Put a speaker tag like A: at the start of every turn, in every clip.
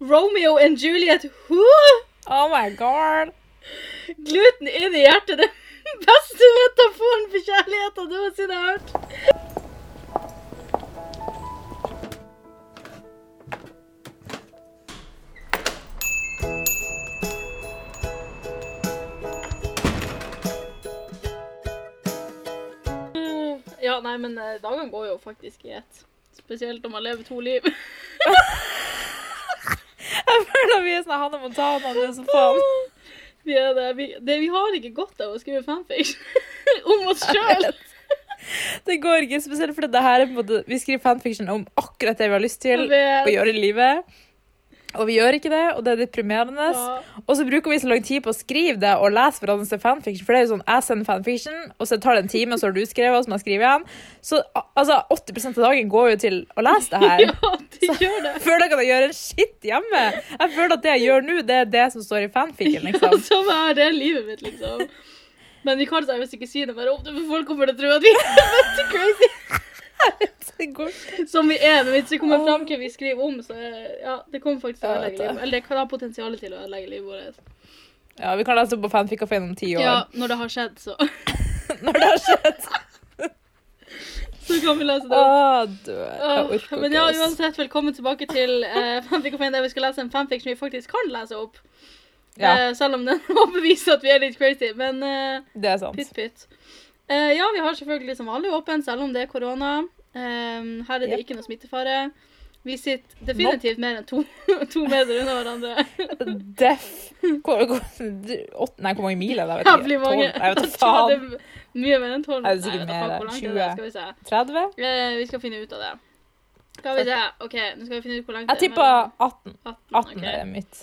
A: Romeo and Juliet, who?
B: Oh my god.
A: Gluten inn i hjertet. Den beste metaforen for kjærligheten noensinne jeg har hørt. Mm, Ja, nei, men eh, dagene går jo faktisk i ett. Spesielt om man lever to liv.
B: Jeg føler vi er sånn Hanne Montana, du er så faen.
A: Vi, er det. Vi, det, vi har ikke godt av å skrive fanfiction om oss sjøl.
B: Det går ikke spesielt, for det her er på en måte Vi skriver fanfiction om akkurat det vi har lyst
A: Jeg
B: til
A: vet.
B: å gjøre i livet. Og vi gjør ikke det, og det er deprimerende. Og så bruker vi så lang tid på å skrive det og lese hverandres fanfiction. For det er jo sånn, jeg sender fanfiction, og så tar det en time, og så har du skrevet, og så må jeg skrive igjen. Så al- altså, 80 av dagen går jo til å lese det her.
A: Ja, det gjør det.
B: Jeg føler ikke at jeg gjør en shit hjemme. Jeg føler at det jeg gjør nå, det er det som står i fanficken,
A: Ja,
B: liksom.
A: sånn er det livet mitt, liksom. Men vi kan seriøst ikke si det mer ofte, for folk kommer til å tro at vi er mest crazy.
B: Det går
A: Som vi er, men hvis vi kommer fram til hva vi skriver om, så er- ja, det kommer faktisk til å
B: Ja, jeg
A: ødelegge livet
B: vet det.
A: Eller det kan ha potensial til å ødelegge livet vårt.
B: Ja, vi kan lese opp på fanfic-kafeen om ti år.
A: Ja, når det har skjedd, så,
B: Når det har skjedd.
A: så kan vi lese det
B: Å,
A: opp.
B: dø. Jeg
A: Åh,
B: orker
A: Men
B: ikke.
A: ja,
B: ass.
A: uansett, velkommen tilbake til eh, Fanfic-kafeen, der vi skal lese en fanfiction vi faktisk kan lese opp.
B: Ja,
A: Eh, selv om den overbeviser at vi er litt crazy. Men eh,
B: det er sant.
A: Pytt, pytt. Eh, ja, vi har selvfølgelig som vanlig åpen, selv om det er korona. Ehm, her er det
B: Yep.
A: ikke noe smittefare. Vi sitter definitivt mer enn to, to meter unna hverandre.
B: Deff. Hvor, hvor, du- åtte- nei, hvor mange mil er det? Jeg vet
A: Jævlig
B: ikke.
A: mange.
B: Tolv?
A: Jeg tror det er
B: Nei, Jeg vet da faen.
A: Mye mer enn tolv.
B: Nei, det er sikkert
A: Nei, jeg vet da
B: mer,
A: faen hvor langt det er,
B: 20.
A: skal vi se.
B: 30?
A: Eh, vi skal finne ut av det. Skal vi se. OK, nå skal vi finne ut hvor langt
B: Jeg
A: det er.
B: tippa 18.
A: 18.
B: 18
A: ok.
B: er mitt.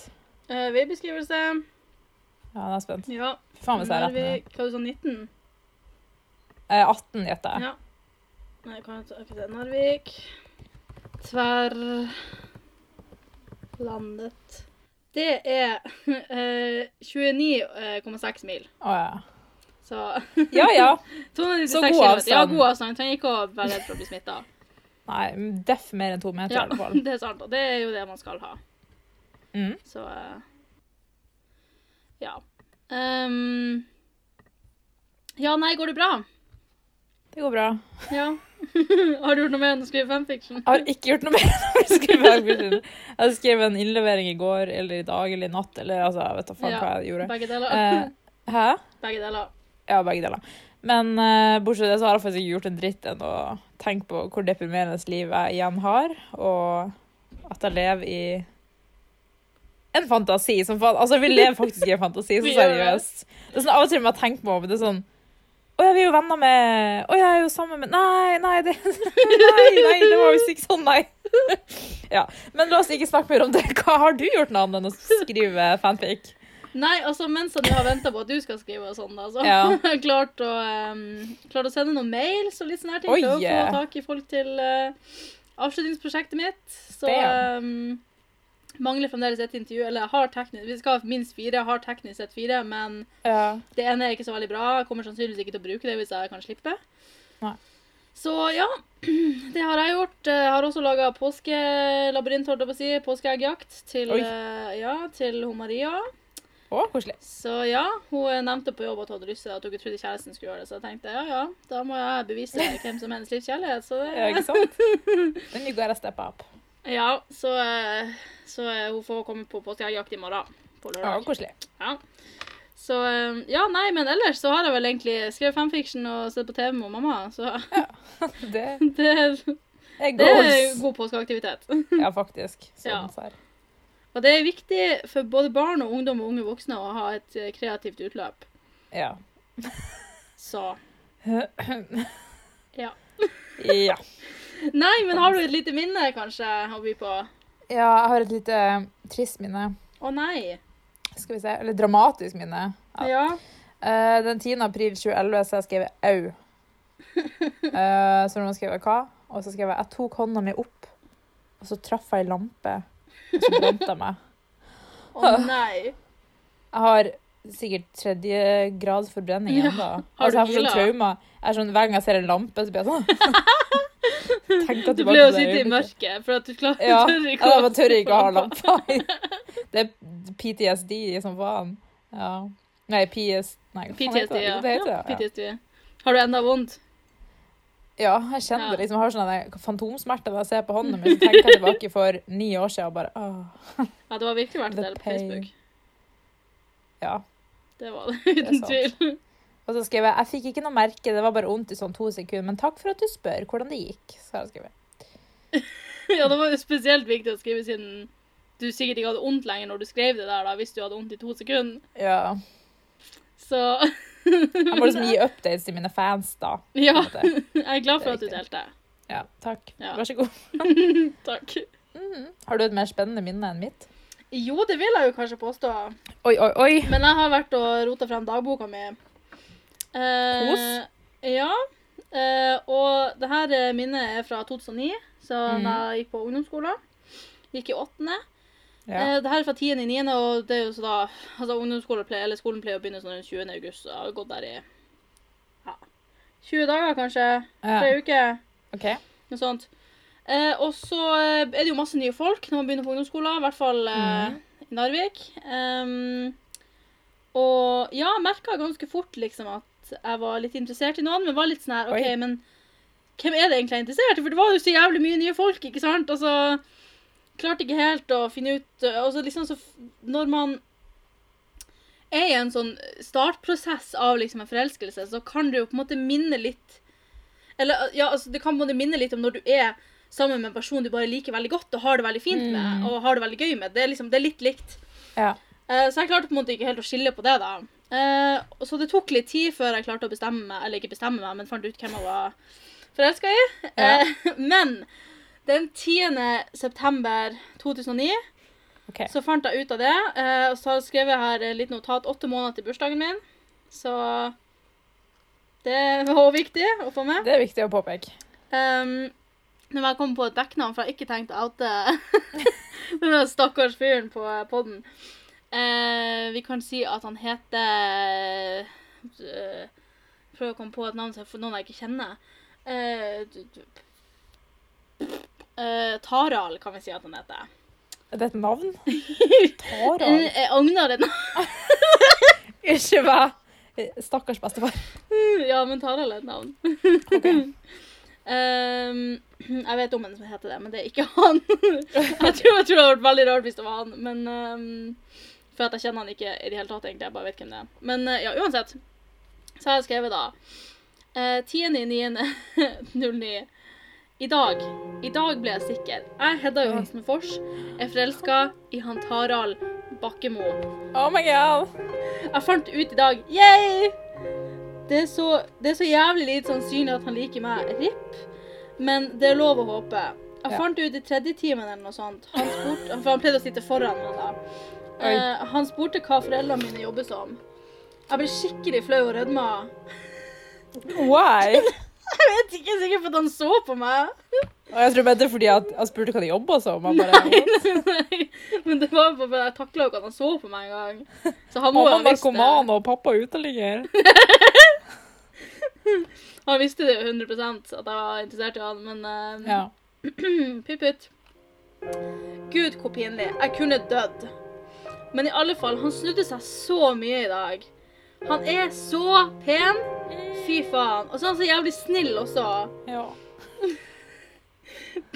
A: Eh, Veibeskrivelse.
B: Ja, nå er jeg spent.
A: Ja.
B: Fy faen hvis jeg
A: Nå er sånn,
B: har rett
A: vi
B: nå.
A: Hva du sa 19?
B: Eh, 18 gjetter jeg.
A: Ja. Nei, kan jeg ta ok, det er Narvik. Tverrlandet. Det er eh, 29,6 mil.
B: Å, ja.
A: Så
B: ja ja.
A: 296
B: Så god
A: kilometer. Ja,
B: avstand.
A: god avstand. Trenger ikke å være redd for å bli smitta.
B: Nei, men deff mer enn to meter i
A: Ja,
B: hvert fall.
A: det er sant. Og det er jo det man skal ha.
B: Mm.
A: Så eh, ja. Ehm, ja, nei, går det bra?
B: Det går bra.
A: Ja. Har du gjort noe mer enn å skrive fanfiction?
B: Jeg har ikke gjort noe mer. enn å skrive fanfiction. Jeg skrev en innlevering i går eller i dag eller i natt eller altså, jeg vet da faen
A: Ja.
B: hva jeg gjorde.
A: Begge deler.
B: Eh, hæ?
A: Begge deler.
B: Ja, begge deler. Men eh, bortsett fra det så har jeg faktisk ikke gjort en dritt enn å tenke på hvor deprimerende liv jeg igjen har, og at jeg lever i en fantasi som faen Altså, vi lever faktisk i en fantasi, så
A: Vi gjør det.
B: seriøst. Det er sånn av og til man tenker på, men det er sånn Å ja, vi er jo venner med Å, jeg er jo sammen med Nei, nei, det Nei, nei, det var visst ikke sånn, nei. Ja. Men la oss ikke snakke mer om det. Hva har du gjort noe annet enn å skrive fanfic?
A: Nei, altså mens jeg har venta på at du skal skrive og sånn, da, så
B: Ja.
A: har jeg klart å, em, klart å sende noen mails og litt sånne her ting.
B: Oi,
A: Prøve å
B: yeah.
A: få tak i folk til eh, avslutningsprosjektet mitt. Så
B: Damn.
A: em, mangler fremdeles et intervju. Eller jeg har teknisk Vi skal ha minst fire. Jeg har teknisk sett fire, men
B: Ja.
A: det ene er ikke så veldig bra. Jeg kommer sannsynligvis ikke til å bruke det hvis jeg kan slippe.
B: Nei.
A: Så ja, det har jeg gjort. Jeg har også laga påskelabyrint, holdt jeg på å si. Påskeeggjakt til,
B: Oi.
A: eh, ja, til hun Maria.
B: Å, koselig.
A: Så ja, hun nevnte på jobb at hun hadde lyst til at hun ikke trodde kjæresten skulle gjøre det. Så jeg tenkte ja, ja, da må jeg bevise hvem som er hennes livs kjærlighet. Så,
B: Ja,
A: det,
B: ikke sant? Then you gotta step up.
A: ja, så, eh, så eh, hun får komme på påskejakt i morgen. På
B: Ja,
A: lørdag.
B: koselig.
A: Ja. Så eh, ja, nei, men ellers så har jeg vel egentlig skrevet fanfiction og sett på TV med mamma. Så
B: Det
A: det,
B: er
A: det er
B: goals.
A: god påskeaktivitet.
B: Ja, faktisk. Sånn
A: Ja.
B: ser.
A: Og det er viktig for både barn og ungdom og unge voksne å ha et eh, kreativt utløp.
B: Ja.
A: Så ja.
B: ja.
A: Nei, men har du et lite minne, kanskje, å by på?
B: Ja, jeg har et lite eh, trist minne.
A: Å nei.
B: Skal vi se. Eller dramatisk minne. Ja.
A: Ja.
B: Eh, den 10. april 2011 så har jeg skrevet au. Eh, så noen skrev hva? Og så skrev jeg jeg tok hånda mi opp, og så traff jeg ei lampe, og så brant jeg meg.
A: Å nei.
B: Jeg har sikkert tredje grad forbrenning
A: Ja.
B: ennå.
A: Har du
B: Altså, jeg får sånn
A: pila?
B: trauma. Jeg er sånn, hver gang jeg ser en lampe, så blir jeg sånn Tenk at
A: Du
B: det var
A: ble jo
B: på det
A: sitte i
B: øyeblikket.
A: mørket, for at du klarer
B: Ja,
A: du tør
B: jeg
A: ikke å-
B: bare tør ikke å ha lamper. Det er PTSD som faen. Ja. Nei, PS... Nei, hva faen
A: PTSD,
B: heter det?
A: ja.
B: Jo, det heter
A: ja.
B: det. ja.
A: PTSD. Har du enda vondt?
B: Ja, jeg
A: Ja.
B: kjenner det. Liksom, jeg har sånne fantomsmerter når jeg ser på hånda mi. Så tenker jeg tilbake for ni år siden og bare åh.
A: Ja, det var virkelig verdt
B: The
A: en del på
B: pain.
A: Facebook.
B: Ja.
A: Det var det, uten
B: sant.
A: tvil.
B: Og så skrev jeg jeg fikk ikke noe merke, det var bare vondt i sånn to sekunder. Men takk for at du spør hvordan det gikk. Så har jeg skrevet.
A: Ja, det var jo spesielt viktig å skrive siden du sikkert ikke hadde vondt lenger når du skrev det der, da, hvis du hadde vondt i to sekunder.
B: Ja.
A: Så
B: Jeg må liksom gi updates til mine fans, da. på
A: Ja,
B: en måte.
A: jeg er glad for at du
B: Det er
A: delte.
B: ja takk.
A: Ja.
B: Vær så god.
A: Takk.
B: Mhm. Har du et mer spennende minne enn mitt?
A: Jo, det vil jeg jo kanskje påstå.
B: Oi, oi, oi.
A: Men jeg har vært og rota frem dagboka mi. Eh,
B: Kos.
A: Ja. Eh, og det her eh, minnet er fra 2009, så
B: Mhm.
A: da jeg gikk på ungdomsskolen. Gikk i åttende.
B: Ja.
A: Eh, det her er fra tiende i niende, og det er jo så da Altså, ungdomsskolen pleier, eller skolen pleier å begynne sånn rundt 20. august, så jeg har gått der i ja, 20 dager, kanskje. Tre
B: Ja.
A: uker.
B: OK.
A: Noe sånt. Eh, og så eh, er det jo masse nye folk når man begynner på ungdomsskolen, i hvert fall eh, i Narvik. Ehm, og ja, jeg merka ganske fort liksom at jeg var litt interessert i noen, men var litt sånn her OK,
B: Oi.
A: men hvem er det egentlig jeg er interessert i? For det var jo så jævlig mye nye folk, ikke sant? Altså Klarte ikke helt å finne ut eh, Og så liksom så f- Når man er i en sånn startprosess av liksom en forelskelse, så kan det jo på en måte minne litt Eller ja, altså, det kan på en måte minne litt om når du er sammen med en person du bare liker veldig godt og har det veldig fint med
B: Mm.
A: og har det veldig gøy med. Det er liksom, det er litt likt.
B: Ja.
A: Eh, Så jeg klarte på en måte ikke helt å skille på det, da. Eh, og Så det tok litt tid før jeg klarte å bestemme meg, eller ikke bestemme meg, men fant ut hvem jeg var forelska i.
B: Ja.
A: Eh, Men den 10. september 2009
B: OK.
A: så fant jeg ut av det, eh, og så skrev jeg her eh, litt notat åtte måneder til bursdagen min. Så det var også viktig å få med.
B: Det er viktig å påpeke.
A: Um, når jeg kom på et backnavn, for jeg har ikke tenkt å oute denne stakkars fyren på poden. vi kan si at han heter eh, Prøv å komme på et navn som- for noen jeg ikke kjenner. Eh, du- du- eh, Taral kan vi si at han heter.
B: Er det et navn? Taral?
A: Eh, Jeg agner et navn.
B: Ikke hva? Stakkars bestefar.
A: Ja, men Taral er et navn.
B: OK.
A: Ehm, jeg vet om en som heter det, men det er ikke han. jeg, tror, jeg tror det hadde vært veldig rart hvis det var han, men ehm, For at jeg kjenner han ikke i det hele tatt, egentlig. Jeg bare vet hvem det er. Men eh, ja, uansett. Så har jeg skrevet da eh, 10.9.09. I dag. I dag ble jeg sikker. Jeg, Hedda Johansen Fors, er forelska i han Taral Bakkemo.
B: Oh my god.
A: Jeg fant ut i dag Yay! Det er, så, det er så jævlig lite sannsynlig at han liker meg. RIP. Men det er lov å håpe. Jeg
B: Ja.
A: fant ut i tredje timen eller noe sånt. Han spurte, for han pleide å sitte foran meg da.
B: Oi.
A: Eh, han spurte hva foreldrene mine jobber som. Jeg ble skikkelig flau og rødma.
B: Why?
A: Jeg vet ikke sikkert for at han så på meg.
B: Og jeg tror bare det er fordi at jeg spurte hva de jobba som. og Bare,
A: Nei, Men det var bare jeg takla jo ikke at han så på meg engang. Så han må jo
B: Mamma
A: ha visst det.
B: narkoman og pappa uteligger.
A: Han visste det jo 100 at jeg var interessert i han, men eh,
B: Ja.
A: Pytt, pytt. Gud, hvor pinlig. Jeg kunne dødd. Men i alle fall, han snudde seg så mye i dag. Han er så pen. Fy faen. Og så er han så jævlig snill også.
B: ja.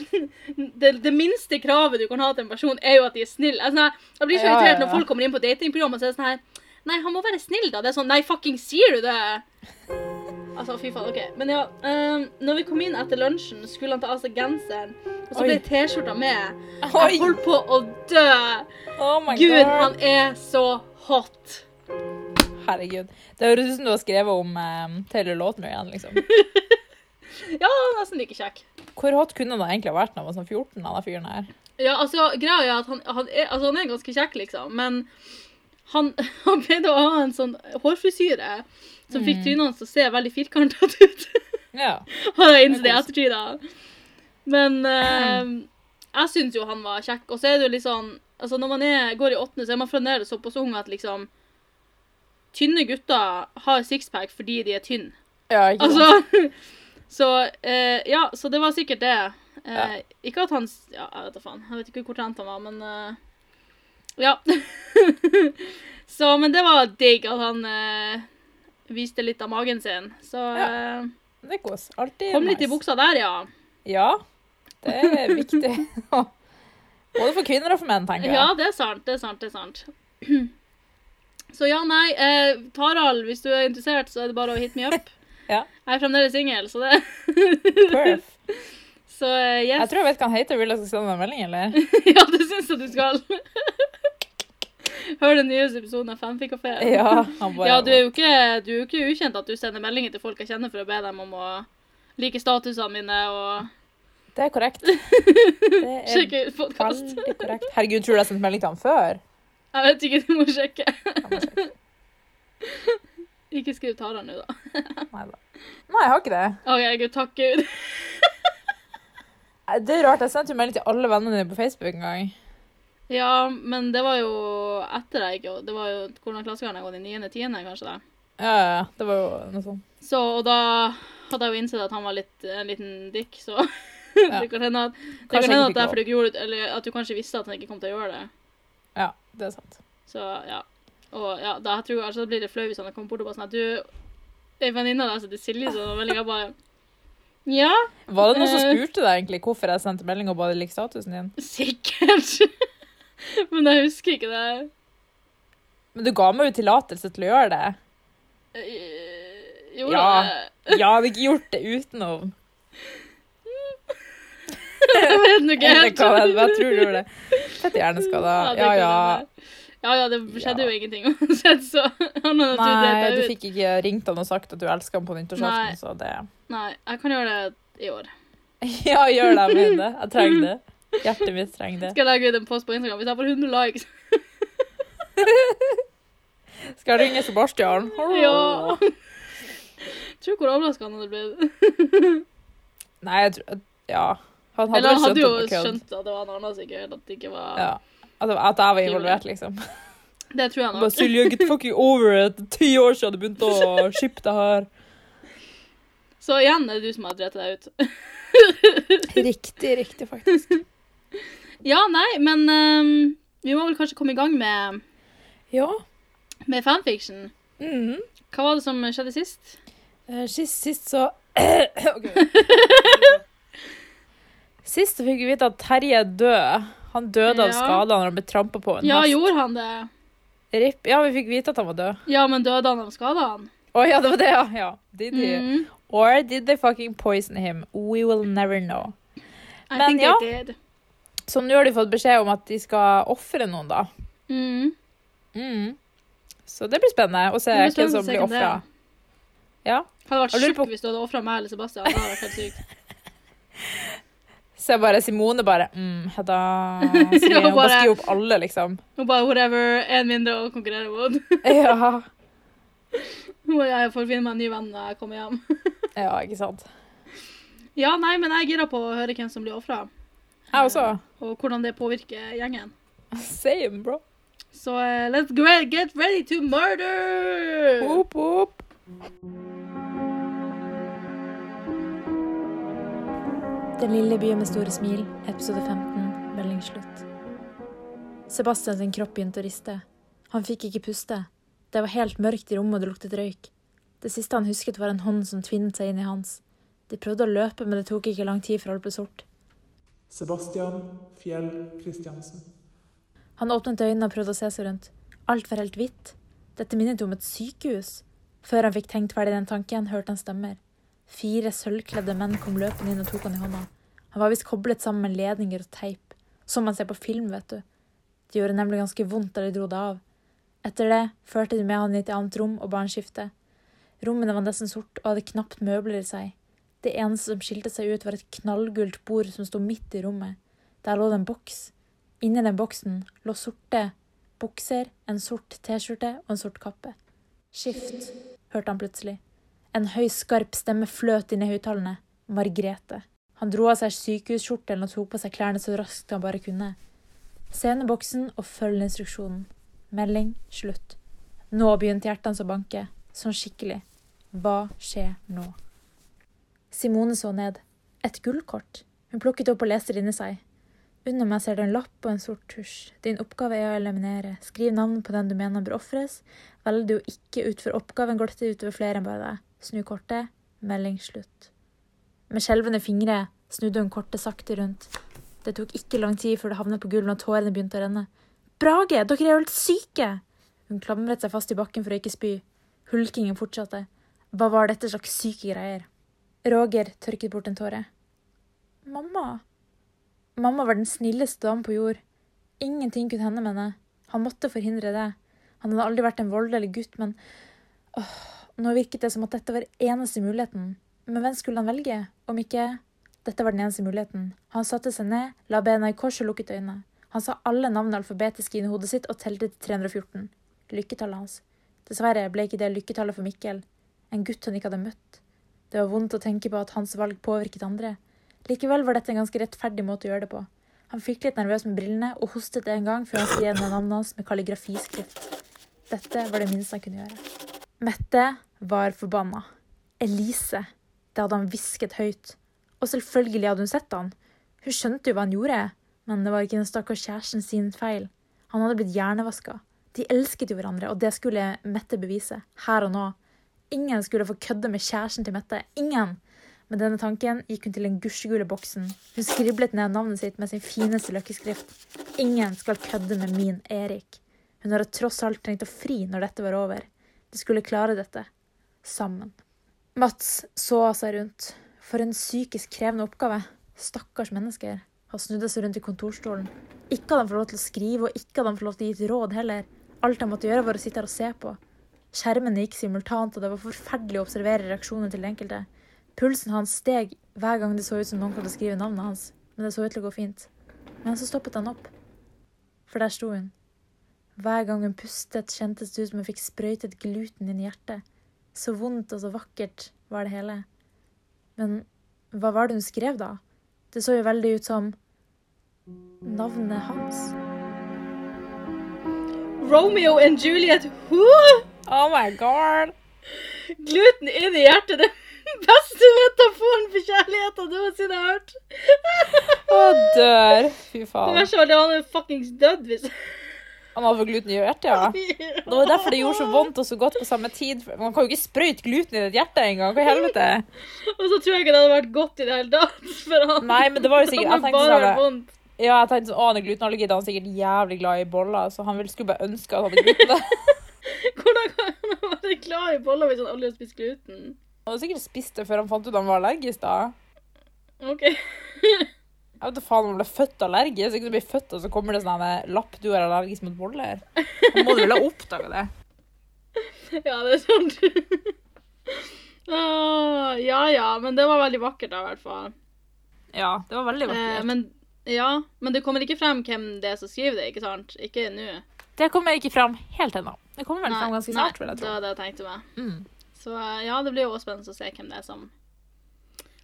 A: Det, det minste kravet du kan ha til en person, er jo at de er snill. Jeg, er sånn her- jeg blir så
B: Ja, ja,
A: irritert når
B: ja.
A: folk kommer inn på datingprogram og så er det sånn her Nei, han må være snill, da. Det er sånn Nei, fucking sier du det? Altså, fy faen. OK. Men ja. Um, når vi kom inn etter lunsjen, skulle han ta av seg genseren, og så ble
B: Oi.
A: T-skjorta med.
B: Oi!
A: Jeg holdt på å dø.
B: Oh my
A: Gud, han
B: god.
A: er så hot.
B: Herregud. Det høres ut som du har skrevet om eh, Taylor Lautner igjen, liksom.
A: Ja, nesten like kjekk.
B: Hvor hot kunne han egentlig ha vært når han var sånn 14, han der fyren her?
A: Ja, altså, greia er at han, han, er, altså, han er ganske kjekk, liksom, men han, han pleide å ha en sånn hårfrisyre som fikk trynene hans til å se veldig firkantet ut.
B: Ja.
A: Har jeg innsett i
B: Det er
A: ettertid, da. Men eh, jeg syns jo han var kjekk. Og så er det jo litt sånn altså Når man er, går i åttende, så er man fremdeles såpass ung at liksom Tynne gutter har sixpack fordi de er tynne.
B: ja ikke sant?
A: Altså, Så eh, ja, så det var sikkert det. Eh, Ikke at han s- Ja, jeg vet da faen. Jeg vet ikke hvor trent han var, men eh, Ja. så, men det var digg at han eh, viste litt av magen sin. Så
B: Ja.
A: eh,
B: Det er kos. Alltid
A: kom litt i buksa der, ja.
B: Ja. Det er viktig. Både for kvinner og for menn, tenker jeg.
A: Ja, det er sant. Det er sant. det er sant. Så ja, nei. Eh, Tarald, hvis du er interessert, så er det bare å hit me up.
B: Ja.
A: Jeg er fremdeles singel, så det
B: Perf.
A: Så eh,
B: Jeg
A: yes.
B: tror jeg vet hva han heter. Vil du jeg skal sende deg en melding, eller?
A: ja, det syns jeg du skal. Hør den nyeste episoden av Fanfikkafé.
B: Ja, han bare,
A: ja, du er jo ikke, du er jo ikke ukjent at du sender meldinger til folk jeg kjenner for å be dem om å like statusene mine og
B: Det er korrekt. Det er
A: sjekke ut podkast.
B: veldig korrekt. Herregud, tror du jeg sendte melding til han før?
A: Jeg vet ikke, du må sjekke.
B: Jeg må sjekke.
A: Ikke skriv Tarald nå, da.
B: Nei da. Nei, jeg har ikke det.
A: OK, gud, takk gud.
B: Det er rart. Jeg sendte jo melding til alle vennene dine på Facebook en gang.
A: Ja, men det var jo etter jeg gikk, og det var jo hvordan klassegangen jeg gått i niende, tiende, kanskje da.
B: Ja, ja, ja. det var jo noe sånt.
A: Så, og da hadde jeg jo innsett at han var litt, en liten dikk, så det kan hende at, det
B: Kanskje
A: kan hende
B: jeg ikke
A: at
B: fikk
A: derfor du ikke gjorde det, eller at du kanskje visste at han ikke kom til å gjøre det.
B: Ja, det er sant.
A: Så ja. Og ja, da tror jeg altså, da blir det flau hvis han kommer bort og bare sånn at du, en venninne av deg som heter Silje, sånn, og veldig jeg bare, ja,
B: Var det noen som
A: Eh.
B: spurte deg egentlig hvorfor jeg sendte melding og ba deg like statusen din?
A: sikkert. men jeg husker ikke det.
B: Men du ga meg jo tillatelse til å gjøre det.
A: Eh, Gjorde
B: Ja.
A: det?
B: Jeg hadde ikke gjort det utenom.
A: Jeg vet nå ikke
B: Eller
A: helt.
B: hva det heter, men jeg tror du gjorde det. Fett hjerneskada.
A: Ja, det
B: Ja,
A: kan
B: ja.
A: hende. Ja, ja, det skjedde jo ingenting uansett, så annet enn at du
B: Nei,
A: delte
B: du
A: ut.
B: fikk ikke ringt han og sagt at du elsker han på nyttårsaften, så det
A: Nei, jeg kan gjøre det i år.
B: Ja, gjør det. Jeg mener det. Jeg trenger det. Hjertet mitt trenger det.
A: Skal jeg legge ut en post på Instagram hvis jeg får 100 likes?
B: Skal jeg ringe Sebastian?
A: Ja. Tror du hvor overraska han hadde blitt?
B: Nei, jeg tror Ja. Han hadde
A: Eller
B: vel
A: han hadde jo
B: skjønt at det var kødd.
A: skjønt at det var en annen sikkert, at det ikke var
B: Ja. At det- at jeg var involvert, liksom.
A: Det tror jeg
B: Bare
A: nok.
B: Silje, get fucking over it. Ti år siden du begynte å shippe det her.
A: Så igjen er det du som har drept deg ut.
B: Riktig, riktig, faktisk.
A: Ja, nei, men ehm, vi må vel kanskje komme i gang med,
B: Ja.
A: med fanfiction.
B: Mm.
A: Hva var det som skjedde sist?
B: Eh, Sist, sist så Ok. Sist så fikk vi vite at Terje er død. Han døde av
A: Ja.
B: skader når han ble trampa på. en
A: Ja,
B: hest.
A: gjorde han det?
B: Ripp. ja, vi fikk vite at han var død.
A: Ja, men døde han av skadene?
B: Å ja, det var det, ja. ja. Did he?
A: Mm.
B: Or did they fucking poison him? We will never know.
A: I
B: Men
A: think
B: ja.
A: they did.
B: Så nå har de fått beskjed om at de skal ofre noen, da.
A: Mm.
B: Mm. Så det blir spennende å se
A: Det blir
B: hvem
A: spennende å
B: som
A: se
B: blir
A: hvem det er.
B: ofra. Ja.
A: Hadde vært
B: Jeg lurer
A: sjukt
B: på-
A: hvis du hadde ofra meg eller Sebastian. Det hadde vært helt sykt.
B: Så jeg bare Simone bare mm, Hedda Silje,
A: Ja,
B: Hun bare
A: bare-
B: skriver opp alle, liksom.
A: Hun bare whatever, én mindre å konkurrere mot.
B: Ja.
A: Hun og jeg får finne meg en ny venn når jeg kommer hjem.
B: ja, ikke sant.
A: Ja, nei, men jeg er gira på å høre hvem som blir ofra,
B: Jeg også.
A: og hvordan det påvirker gjengen.
B: Same, bro.
A: Så eh, let's gre- get ready to murder!
B: Opp, opp. Den lille byen med store smil, episode 15, melding slutt. Sebastian sin kropp begynte å riste. Han fikk ikke puste. Det var helt mørkt i rommet, og det luktet røyk. Det siste han husket, var en hånd som tvinnet seg inn i hans. De prøvde å løpe, men det tok ikke lang tid før alt ble sort.
C: Sebastian Fjell Kristiansen.
B: Han åpnet øynene og prøvde å se seg rundt. Alt var helt hvitt. Dette minnet om et sykehus. Før han fikk tenkt ferdig den tanken, hørte han stemmer. Fire sølvkledde menn kom løpende inn og tok han i hånda. Han var visst koblet sammen med ledninger og teip, som man ser på film, vet du. Det gjorde nemlig ganske vondt da de dro det av. Etter det førte de med han inn i et annet rom og ba han skifte. Rommene var nesten sort og hadde knapt møbler i seg. Det eneste som skilte seg ut, var et knallgult bord som sto midt i rommet. Der lå det en boks. Inni den boksen lå sorte bukser, en sort T-skjorte og en sort kappe. Skift, hørte han plutselig. En høy, skarp stemme fløt inn i høyttalerne. Margrete. Han dro av seg sykehusskjorten og tok på seg klærne så raskt han bare kunne. Se under boksen og følg instruksjonen. Melding slutt. Nå begynte hjertet hans å banke, sånn skikkelig. Hva skjer nå?
D: Simone så ned. Et gullkort. Hun plukket opp og leste det inni seg. Under meg ser det en lapp og en sort tusj. Din oppgave er å eliminere. Skriv navnet på den du mener bør ofres. Velger du å ikke utføre oppgaven, går dette utover flere enn bare deg. Snu kortet. Melding slutt. Med skjelvende fingre snudde hun kortet sakte rundt. Det tok ikke lang tid før det havnet på gulvet og tårene begynte å renne. Brage, dere er jo helt syke! Hun klamret seg fast i bakken for å ikke spy. Hulkingen fortsatte. Hva var dette slags syke greier? Roger tørket bort en tåre. Mamma. Mamma var den snilleste dame på jord. Ingenting kunne hende med henne. Han måtte forhindre det. Han hadde aldri vært en voldelig gutt, men åh, nå virket det som at dette var eneste muligheten. Men hvem skulle han velge, om ikke Dette var den eneste muligheten. Han satte seg ned, la bena i kors og lukket øynene. Han sa alle navnene alfabetisk inn i hodet sitt og telte til 314. Lykketallet hans. Dessverre ble ikke det lykketallet for Mikkel. En gutt han ikke hadde møtt. Det var vondt å tenke på at hans valg påvirket andre. Likevel var dette en ganske rettferdig måte å gjøre det på. Han fikk litt nervøs med brillene og hostet en gang før han skrev ned navnet hans med kalligrafiskrift. Dette var det minste han kunne gjøre. Mette var forbanna. Elise. Det hadde han hvisket høyt. Og selvfølgelig hadde hun sett han. Hun skjønte jo hva han gjorde, men det var ikke den stakkars kjæresten sin feil. Han hadde blitt hjernevaska. De elsket jo hverandre, og det skulle Mette bevise. Her og nå. Ingen skulle få kødde med kjæresten til Mette. Ingen! Med denne tanken gikk hun til den gusjegule boksen. Hun skriblet ned navnet sitt med sin fineste løkkeskrift. Ingen skal kødde med min Erik. Hun hadde tross alt trengt å fri når dette var over. De skulle klare dette. Sammen. Mats så seg rundt. For en psykisk krevende oppgave. Stakkars mennesker. Han snudde seg rundt i kontorstolen. Ikke hadde han fått lov til å skrive, og ikke hadde han fått lov til å gi et råd heller. Alt han måtte gjøre, var å sitte her og se på. Skjermene gikk simultant, og det var forferdelig å observere reaksjonene til den enkelte. Pulsen hans steg hver gang det så ut som noen kom til å skrive navnet hans, men det så ut til å gå fint. Men så stoppet han opp, for der sto hun. Hver gang hun pustet, kjentes det ut som hun fikk sprøytet gluten inn i hjertet. Så vondt og så vakkert var det hele. Men hva var det hun skrev, da? Det så jo veldig ut som navnet hans.
A: Romeo and Juliet, who?
B: Oh my god!
A: Gluten inn i hjertet, det er den beste metaforen for kjærligheten noensinne jeg har hørt.
B: Å, dør! Fy
A: Det
B: faen.
A: verste var at han er fuckings død hvis
B: Han hadde fått gluten i hjertet, ja. Det var derfor det gjorde så vondt og så godt på samme tid. for Man kan jo ikke sprøyte gluten i et hjerte engang. Hva i helvete?
A: Og så tror jeg ikke det hadde vært godt i det hele tatt for han.
B: Nei, men det var jo sikkert
A: Han har
B: Jeg tenkte
A: bare
B: sånn
A: vært
B: at-
A: vondt.
B: Ja, jeg tenkte sånn, å, han er glutenallergi, da er han sikkert jævlig glad i boller. Så han ville skulle bare ønske at han hadde gluten. da.
A: Hvordan kan han være glad i boller hvis han aldri har spist gluten?
B: Han hadde sikkert spist det før han fant ut han var allergisk, da.
A: Ok.
B: Jeg vet da faen om han ble født allergisk. Hvis ikke du blir født, og så kommer det sånn en lapp du er allergisk mot boller. Han må du vel ha oppdaga det?
A: Ja, det er sant. Åh, ja ja, men det var veldig vakkert da, i hvert fall.
B: Ja, det var veldig
A: Eh,
B: vakkert.
A: men, ja, men det kommer ikke frem hvem det er som skriver det, ikke sant? Ikke nå.
B: Det kommer ikke fram helt ennå. Det kommer vel
A: Nei,
B: fram ganske
A: nei,
B: snart, vil jeg
A: Det
B: tro.
A: var det jeg tenkte meg.
B: Mm.
A: Så eh, ja, det blir jo også spennende å se hvem det er som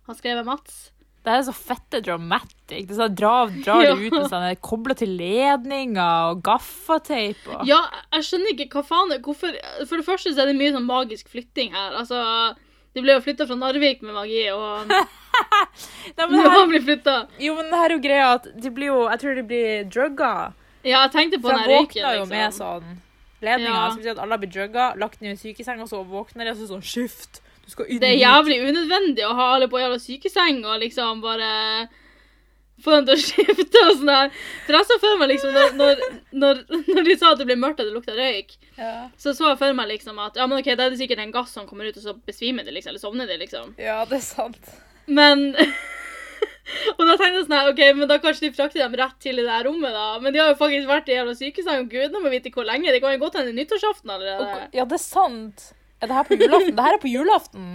A: har skrevet Mats.
B: Det her er så fette dramatic. Det er sånn, drar, drar
A: Ja.
B: det ut med sånne kobler til ledninger og gaffateip og
A: Ja, jeg skjønner ikke hva faen hvorfor, For det første så er det mye sånn magisk flytting her. Altså, de ble jo flytta fra Narvik med magi, og
B: Nei, men
A: nå
B: det her,
A: blir flytta
B: jo, men det her er jo greia at de blir jo Jeg tror de blir drugga.
A: Ja, jeg tenkte på
B: For
A: den
B: han
A: her røyken,
B: våkna jo med
A: liksom.
B: sånn ledninger.
A: Ja.
B: Som betyr at alle blir drugga, lagt ned i en sykeseng, og så våkner de, og så sånn Skift! Du skal inn
A: Det er
B: hit.
A: jævlig unødvendig å ha alle på jævla sykeseng og liksom bare få dem til å skifte og sånn her. For jeg så for meg liksom når, når, når, når de sa at det ble mørkt og det lukta røyk,
B: Ja.
A: så så jeg for meg liksom at ja, men ok, da er det sikkert en gass som kommer ut, og så besvimer de liksom, eller sovner de liksom.
B: ja, det er sant.
A: Men Og da tenkte jeg sånn her, OK, men da kanskje de frakter dem rett til det der rommet, da. Men de har jo faktisk vært i jævla sykeseng, og gudene må vite hvor lenge. Det kan jo godt hende nyttårsaften allerede.
B: Ja, det er sant. Er det her på julaften? Det her er på julaften.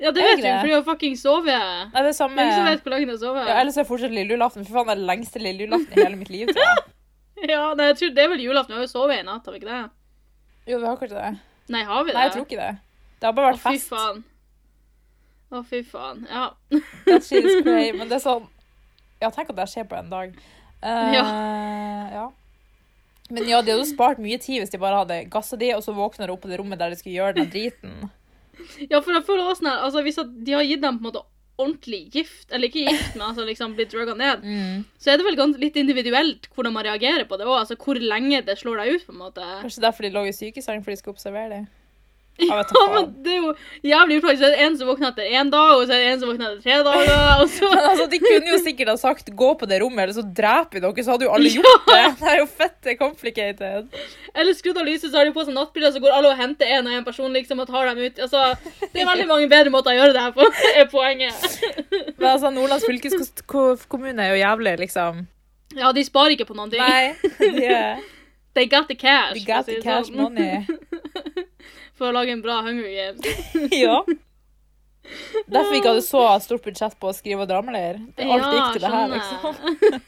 A: Ja, det
B: Er
A: vet
B: det
A: vi,
B: det?
A: for de har fucking sovet.
B: Nei, det er samme
A: Hvem som
B: Eh, ja,
A: vet hvor lenge de har sovet?
B: Ellers er det fortsatt lille julaften. Fy faen, det er den lengste lille julaften i hele mitt liv. Tror jeg.
A: Ja, nei, jeg tror det er vel julaften. Vi har jo sovet i natt, har vi ikke det?
B: Jo, vi har kanskje det.
A: Nei, har vi det?
B: Nei, jeg tror ikke det. Det har bare vært
A: Å, fy
B: fest.
A: faen. Å, fy faen. Ja.
B: That shit is great, men det er sånn Ja, tenk at det skjer på en dag. Eh, ja. Men ja, de hadde jo spart mye tid hvis de bare hadde gassa de, og så våkna de opp på det rommet der de skulle gjøre den driten.
A: Ja, for jeg føler også sånn her, altså Hvis at de har gitt dem på en måte ordentlig gift, eller ikke gift, men altså liksom blitt drugga ned,
B: Mm.
A: så er det vel gans- litt individuelt hvordan man reagerer på det òg. Altså hvor lenge det slår deg ut, på en måte.
B: Kanskje derfor de lå i sykeseng, fordi de skulle observere dem. Jeg vet da
A: Ja, men
B: faen.
A: det er jo jævlig upraktisk. Så er det en som våkner etter én dag, og så er det en som våkner etter tre dager, og så
B: Men altså, De kunne jo sikkert ha sagt 'gå på det rommet', eller så dreper vi dere. Så hadde jo alle gjort det. Det er jo fette complicated.
A: Eller skrudd av lyset, så har de på seg nattbriller, så går alle og henter en og en person liksom, og tar dem ut. Altså, det er veldig mange bedre måter å gjøre det her på, er poenget.
B: Men altså, Nordlands fylkeskommune er jo jævlig, liksom.
A: Ja, de sparer ikke på noen ting.
B: Nei. De er-
A: They got the cash.
B: We
A: for å
B: got
A: si
B: the
A: det
B: cash
A: sånn.
B: money.
A: For å lage en bra Hunger Games.
B: Ja. Derfor vi ikke hadde så stort budsjett på å skrive og dramaleir. Alt gikk til det her, liksom.
A: skjønner.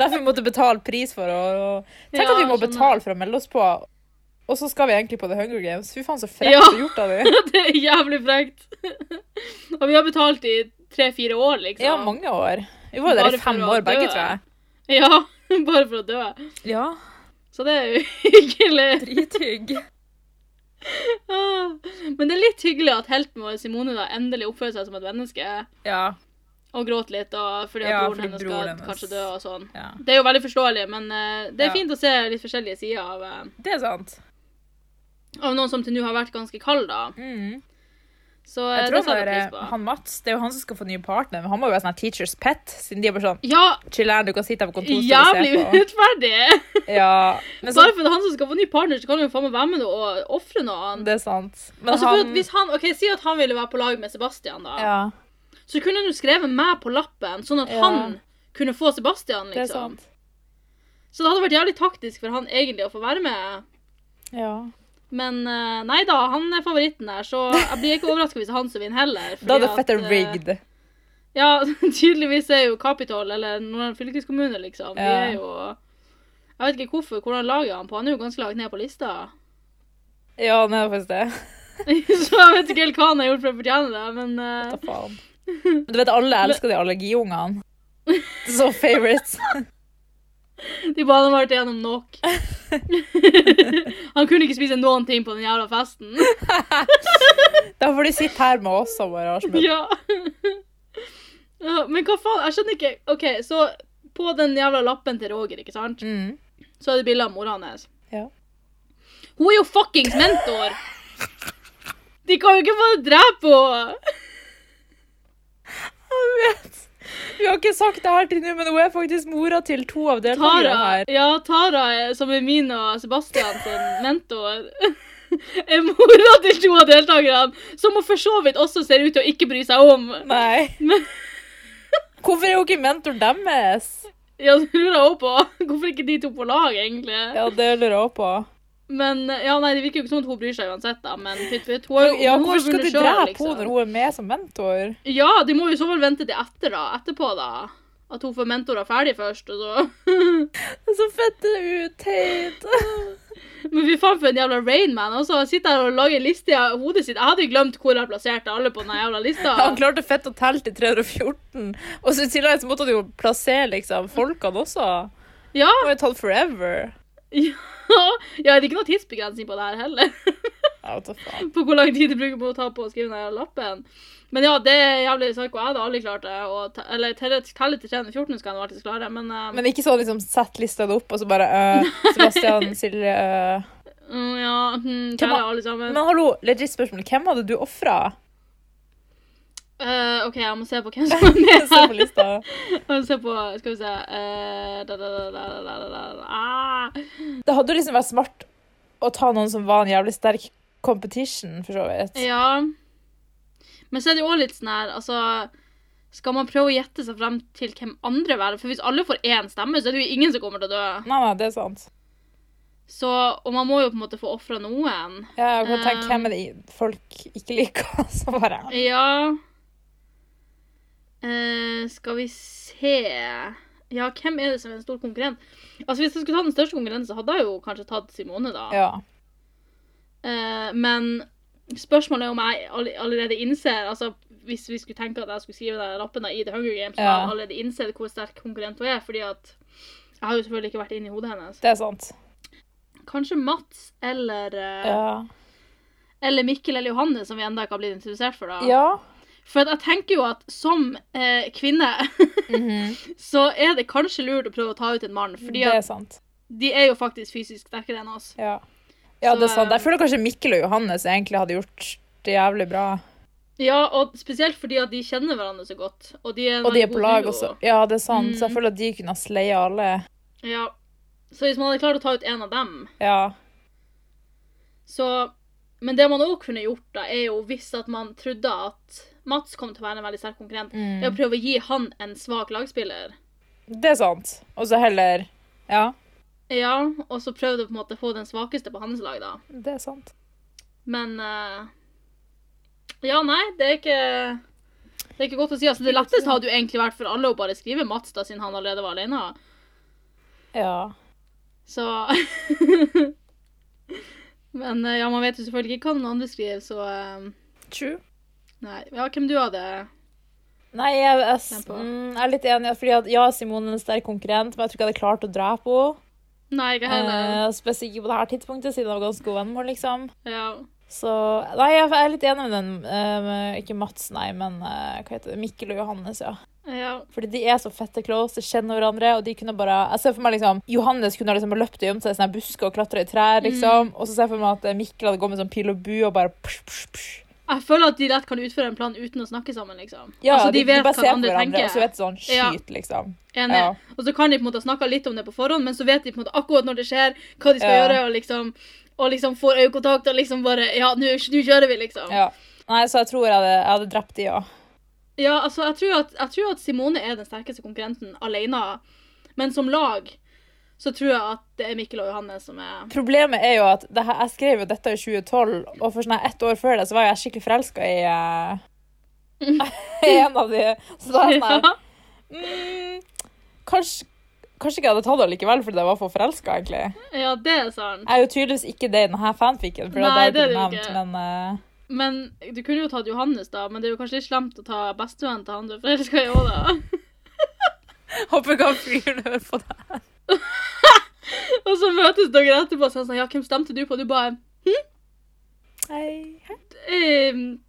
B: Derfor vi måtte betale pris for å og... Tenk at vi
A: Ja,
B: må
A: skjønner.
B: betale for å melde oss på, og så skal vi egentlig på The Hunger Games. Fy faen, så frekt
A: Ja.
B: og gjort av dem.
A: Det er jævlig frekt. Og vi har betalt i tre-fire år, liksom.
B: Ja, mange år. Vi var jo der
A: Bare
B: i
A: for
B: fem
A: å
B: år begge,
A: dø.
B: tror jeg.
A: Ja, bare for å dø.
B: Ja,
A: Så det er jo hyggelig.
B: drithygg.
A: Ah, Men det er litt hyggelig at helten vår, Simone, da, endelig oppfører seg som et menneske.
B: Ja,
A: Og gråt litt, og fordi at
B: Ja,
A: broren
B: fordi
A: hennes
B: broren
A: skal
B: hennes.
A: kanskje dø og sånn.
B: ja.
A: Det er jo veldig forståelig, men eh, det er
B: Ja.
A: fint å se litt forskjellige sider av, eh,
B: Det er sant.
A: av noen som til nå har vært ganske kald, da.
B: Mm.
A: Så eh,
B: Jeg tror
A: det
B: han,
A: setter jeg pris
B: er,
A: på.
B: han Mats, det er jo han som skal få ny partner, men han må jo være sånn her teacher's pet, siden de er bare sånn,
A: Ja,
B: chiller'n, du kan sitte her på kontoret
A: jævlig
B: og se på. Altså-
A: urettferdig!
B: Ja, men sånn, så,
A: Bare fordi han som skal få ny partner, så kan han jo faen meg være med nå og ofre noe annet.
B: det er sant. Men
A: Altså, for at
B: han...
A: hvis han, ok, Si at han ville være på lag med Sebastian, da.
B: Ja,
A: Så kunne han jo skrevet meg på lappen, sånn at
B: Ja.
A: han kunne få Sebastian,
B: det er
A: liksom.
B: sant.
A: Så det hadde vært jævlig taktisk for han egentlig å få være med.
B: Ja.
A: Men eh, nei da, han er favoritten der, så jeg blir ikke overraska hvis det er han som vinner heller.
B: Da er det
A: fordi at,
B: fett
A: eh,
B: rigged.
A: Ja, tydeligvis er jo Capitol eller Nordland fylkeskommune, liksom. De er
B: Ja.
A: jo Jeg vet ikke hvorfor, hvordan lager han på? Han er jo ganske langt ned på lista.
B: Ja, det er faktisk det.
A: så jeg vet ikke helt hva han har gjort for å fortjene det, men eh,
B: Da faen. Men du vet, alle elsker de allergiungene. Så favorites.
A: de bare har vært igjennom nok. han kunne ikke spise noen ting på den jævla festen.
B: Da får de sitte her med oss og sånn- bare arrangement.
A: Ja. Ja, Men hva faen? Jeg skjønner ikke. OK, så på den jævla lappen til Roger, ikke sant,
B: Mm.
A: så er det bilde av mora hans.
B: Ja.
A: Hun er jo fuckings mentor! De kan jo ikke få drepe henne!
B: Jeg vet. Vi har ikke sagt det her til nå, men hun er faktisk mora til to av deltakerne
A: Tara,
B: her.
A: ja, Tara, er- som er min og Sebastian sin mentor, er mora til to av deltakerne, som hun for så vidt også ser ut til å ikke bry seg om.
B: Nei.
A: Men-
B: Hvorfor er hun ikke mentoren deres?
A: Ja, det lurer jeg også på. Hvorfor ikke de to på lag, egentlig?
B: Ja, det lurer jeg også på.
A: Men ja, nei, Det virker jo ikke som at hun bryr seg uansett, da. Men pytt, pytt. Hun, har-
B: Ja,
A: hun har
B: hvorfor skal
A: vunnet
B: de
A: selv,
B: drepe
A: liksom.
B: henne når hun er med som mentor?
A: Ja, de må jo i så fall vente til etter, da. Etterpå, da. At hun får mentorer ferdig først, og så
B: Det er så fett det er ut, teit.
A: Men fy faen for en jævla Rainman. Altså, han sitter her og lager en liste i hodet sitt. Jeg hadde jo glemt hvor jeg plasserte alle på den jævla lista.
B: Han klarte fett å telle til 314, og så i tillegg så måtte han jo plassere liksom, folkene også.
A: Ja,
B: Det har jo tatt forever.
A: ja, det er ikke noe tidsbegrensning på det her heller.
B: Jeg vet da faen.
A: På hvor lang tid de bruker på å ta på å skrive den jævla lappen. Men ja, det er jævlig psyko. Jeg hadde aldri klart det. Og te eller telle telle til 314 skal jeg nå alltid klare, men, eh,
B: Men ikke sånn liksom sett lista opp, og så bare øh, Sebastian, Silje øh.
A: mm, Ja, hm,
B: Hvem har-
A: kjære alle sammen.
B: Men hallo, legit spørsmål. Hvem hadde du ofra?
A: Eh, OK, jeg må se på hvem som er
B: Se
A: med
B: på
A: her.
B: lista.
A: Jeg må se på, Skal vi se Eh, da, da, da, da, da, da, da, da. Ah.
B: Det hadde jo liksom vært smart å ta noen som var en jævlig sterk competition, for så vidt.
A: Ja. Men så er det jo også litt sånn her Altså, skal man prøve å gjette seg frem til hvem andre velger? For hvis alle får én stemme, så er det jo ingen som kommer til å dø.
B: Nei, nei, det er sant.
A: Så, Og man må jo på en måte få ofra noen.
B: Jeg kan tenke
A: Um.
B: hvem er det i- folk ikke liker, så bare
A: Ja Eh, Skal vi se Ja, hvem er det som er en stor konkurrent? Altså, Hvis jeg skulle ta den største konkurrenten, så hadde jeg jo kanskje tatt Simone, da.
B: Ja.
A: Eh, men spørsmålet er om jeg all- allerede innser altså Hvis vi skulle tenke at jeg skulle skrive den lappen da i The Hunger Games, så
B: Ja.
A: har jeg allerede innsett hvor sterk konkurrent hun er. fordi at jeg har jo selvfølgelig ikke vært inni hodet hennes.
B: Det er sant.
A: Kanskje Mats eller eh,
B: Ja.
A: Eller Mikkel eller Johanne, som vi enda ikke har blitt introdusert for. da.
B: Ja.
A: For at jeg tenker jo at som eh, kvinne, så er det kanskje lurt å prøve å ta ut en mann. Fordi
B: Mhm. det er
A: at
B: sant.
A: de er jo faktisk fysisk sterkere enn oss.
B: Ja. ja,
A: Så,
B: det er sant.
A: eh,
B: Jeg føler kanskje Mikkel og Johannes egentlig hadde gjort det jævlig bra.
A: Ja, og spesielt fordi at de kjenner hverandre så godt. Og de er, en
B: Og de er
A: veldig
B: på
A: god
B: lag
A: duo.
B: også. Ja, det er sant. Så
A: Mm.
B: jeg føler at de kunne ha sleia alle.
A: Ja. Så hvis man hadde klart å ta ut en av dem,
B: Ja.
A: så Men det man òg kunne gjort, da, er jo hvis at man trodde at Mats kom til å være en veldig sterk konkurrent, er å prøve å gi han en svak lagspiller.
B: Det er sant. Og så heller Ja,
A: Ja, og så prøvde å på en måte å få den svakeste på hans lag, da.
B: det er sant.
A: Men eh, Ja, nei, det er ikke Det er ikke godt å si. Altså, det letteste hadde jo egentlig vært for alle å bare skrive Mats, da, siden han allerede var alene.
B: Ja.
A: Så Men eh, ja, man vet jo selvfølgelig ikke hva den andre skriver, så eh,
B: True.
A: Nei. Ja, hvem du hadde?
B: Nei, jeg, jeg, s-
A: Den på.
B: mm, jeg er litt enig. Fordi at, ja, Simone er en sterk konkurrent, men jeg tror ikke jeg hadde klart å drepe henne.
A: Nei, ikke heller.
B: Eh, spesielt ikke på det her tidspunktet, siden jeg var ganske god venn med henne, liksom.
A: Ja.
B: Så Nei, jeg, jeg er litt enig med den. eh, med- ikke Mats, nei, men eh, hva heter det? Mikkel og Johannes, ja.
A: ja.
B: Fordi de er så fette close, de kjenner hverandre, og de kunne bare Jeg ser for meg liksom Johannes kunne ha liksom løpt og gjemt seg i sånne her busker og klatra i trær,
A: Mm.
B: liksom. Og så ser jeg for meg at eh, Mikkel hadde gått med sånn pil og bue og bare psh, psh, psh.
A: Jeg føler at de lett kan utføre en plan uten å snakke sammen, liksom.
B: Ja,
A: altså, de, vet
B: bare
A: hva
B: ser på
A: andre
B: hverandre,
A: tenker.
B: Og så vet de sånn Skyt,
A: Ja.
B: liksom.
A: Enig.
B: Ja.
A: Og så kan de på en måte snakke litt om det på forhånd, men så vet de på en måte akkurat når det skjer, hva de skal
B: Ja.
A: gjøre, og liksom, og liksom får øyekontakt og liksom bare Ja, nå nå kjører vi, liksom. Ja,
B: Ja. Nei, så jeg tror jeg hadde, jeg hadde drept de òg.
A: altså, jeg tror, at, jeg tror at Simone er den sterkeste konkurrenten alene, men som lag så tror jeg at det er Mikkel og Johannes som er
B: Problemet er jo at det her, jeg skrev jo dette i 2012, og for sånn her ett år før det så var jeg skikkelig forelska i eh, i en av de. Så da er jeg sånn her
A: Ja.
B: mm, kanskje, kanskje ikke jeg hadde tatt det likevel fordi jeg var for forelska, egentlig.
A: ja, det er sant.
B: Jeg er jo tydeligvis ikke det i denne fanficken, for
A: Nei,
B: det
A: det
B: er
A: er
B: ikke
A: du
B: nevnt,
A: ikke.
B: men eh,
A: Men du kunne jo tatt Johannes, da, men det er jo kanskje litt slemt å ta bestevennen til han du er forelska i òg, da.
B: Håper ikke han fyren hører på det.
A: Og så møtes dere etterpå, og så er han sånn Ja, hvem stemte du på? Du bare
B: Hei.
A: Ehm,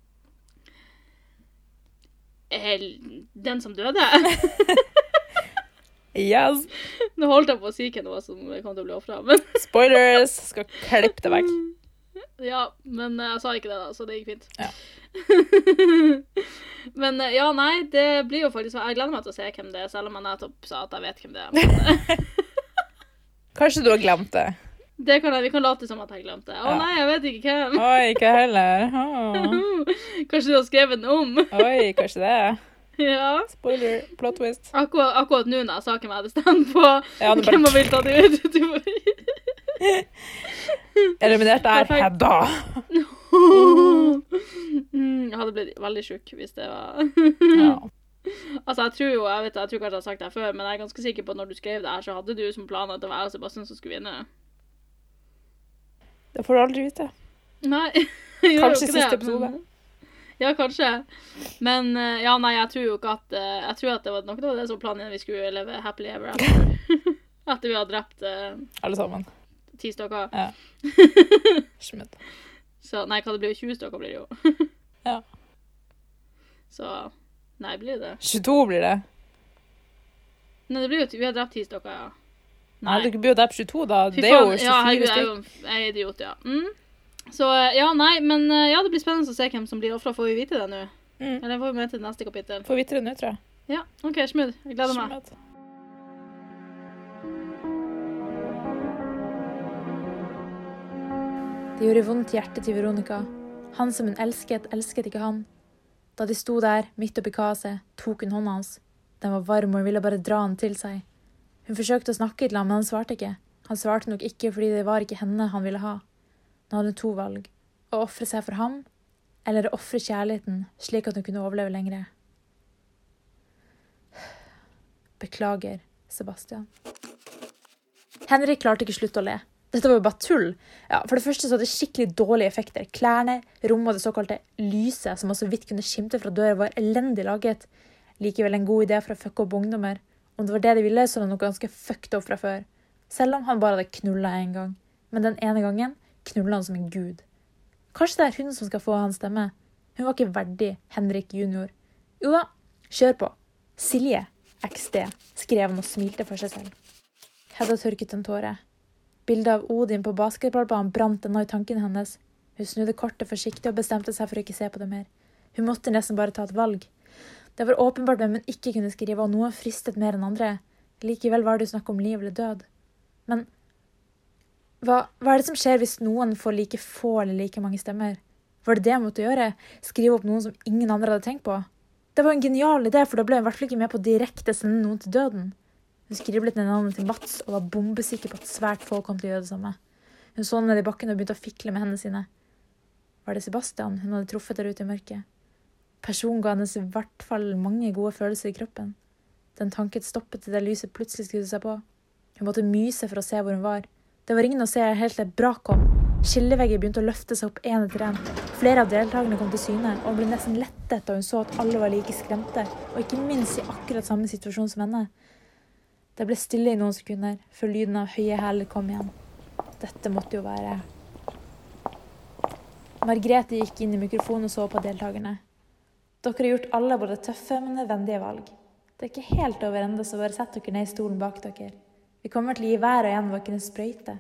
A: el- eh, Den som døde?
B: Yes.
A: Nå holdt jeg på å si hvem det var som kom til å bli ofra, men
B: Spoilers! Skal klippe det vekk.
A: Ja, men eh, jeg sa ikke det, da, så det gikk fint.
B: Ja.
A: men eh, ja, nei, det blir jo faktisk Jeg gleder meg til å se hvem det er, selv om jeg nettopp sa at jeg vet hvem det er.
B: Kanskje du har glemt det.
A: Det kan jeg, Vi kan late som at jeg glemte. Å
B: Ja.
A: nei, jeg vet ikke hvem.
B: Oi, ikke jeg heller. Å.
A: Kanskje du har skrevet den om?
B: Oi, kanskje det.
A: ja.
B: Spoiler. Plot twist.
A: Akkurat, akkurat nå når jeg sa hvem jeg hadde stemt på,
B: Ja, det er
A: hvem jeg
B: bare-
A: vil ta det ut du får-
B: Eliminert er
A: Perfekt.
B: Hedda.
A: Mm, Jeg hadde blitt veldig sjuk hvis det var
B: Ja.
A: Altså, jeg tror jo, jeg vet jeg tror kanskje jeg har sagt det her før, men jeg er ganske sikker på at når du skrev det her, så hadde du som plan at det var jeg og Sebastian som skulle vinne.
B: Det får du aldri vite.
A: Nei. jeg gjør jo
B: Kanskje
A: ikke
B: siste
A: det, Mm.
B: episode.
A: men- Ja, kanskje. Men eh, ja, nei, jeg tror jo ikke at eh, Jeg tror at det var nok det var det som var planen vi skulle leve happily ever after. Etter vi hadde drept eh,
B: Alle sammen.
A: ti stykker.
B: Smitt.
A: Så nei, hva det blir jo 20 stykker blir det jo.
B: Ja.
A: Så nei, blir det det?
B: 22 blir det.
A: Nei, det blir jo, ti- vi har drept ti stykker, ja.
B: Nei, dere blir jo drept 22, da.
A: Fy
B: Det er jo
A: faen,
B: 24
A: ja, herregud, jeg er
B: stykker.
A: jo en f- jeg er idiot, ja. Mm. Så eh, ja, nei, men eh, ja, det blir spennende å se hvem som blir ofra. Får vi vite det nå?
B: Mm.
A: Eller får vi med til neste kapittel?
B: Får vite det nå, tror jeg.
A: Ja, OK, smooth. Jeg gleder meg.
B: Smitt.
D: Det gjorde vondt i hjertet til Veronica. Han som hun elsket, elsket ikke han. Da de sto der, midt oppi kaoset, tok hun hånda hans. Den var varm, og hun ville bare dra han til seg. Hun forsøkte å snakke til ham, men han svarte ikke. Han svarte nok ikke fordi det var ikke henne han ville ha. Nå hadde hun to valg. Å ofre seg for ham, eller å ofre kjærligheten, slik at hun kunne overleve lengre. Beklager, Sebastian. Henrik klarte ikke slutt å le. Dette var jo bare tull. Ja, for det første så hadde det skikkelig dårlige effekter. Klærne, rommet og det såkalte lyset, som man så vidt kunne skimte fra døra, var elendig laget. Likevel en god idé for å fucke opp ungdommer. Om det var det de ville, så var det noe ganske fucked opp fra før. Selv om han bare hadde knulla én gang. Men den ene gangen knulla han som en gud. Kanskje det er hun som skal få hans stemme? Hun var ikke verdig Henrik junior. Jo da, kjør på. Silje XD, skrev han og smilte for seg selv. Hedda tørket en tåre. Bildet av Odin på basketballbanen brant ennå i tanken hennes. Hun snudde kortet forsiktig og bestemte seg for å ikke se på det mer. Hun måtte nesten bare ta et valg. Det var åpenbart hvem hun ikke kunne skrive, og noen fristet mer enn andre. Likevel var det jo snakk om liv eller død. Men hva, hva er det som skjer hvis noen får like få eller like mange stemmer? Var det det jeg måtte gjøre? Skrive opp noen som ingen andre hadde tenkt på? Det var jo en genial idé, for da ble jeg i hvert fall ikke med på å direkte sende noen til døden. Hun skriblet ned navnet til Mats og var bombesikker på at svært få kom til å gjøre det samme. Hun så ned i bakken og begynte å fikle med hendene sine. Var det Sebastian hun hadde truffet der ute i mørket? Personen ga hennes i hvert fall mange gode følelser i kroppen. Den tanken stoppet idet lyset plutselig skudde seg på. Hun måtte myse for å se hvor hun var. Det var ingen å se helt til et brak kom. Skillevegger begynte å løfte seg opp én etter én. Flere av deltakerne kom til syne, og hun ble nesten lettet da hun så at alle var like skremte, og ikke minst i akkurat samme situasjon som henne. Det ble stille i noen sekunder, før lyden av høye hæler kom igjen. Dette måtte jo være Margrethe gikk inn i mikrofonen og så på deltakerne. Dere har gjort alle både tøffe, men nødvendige valg. Det er ikke helt over ennå, så bare sett dere ned i stolen bak dere. Vi kommer til å gi hver og en av dere en sprøyte.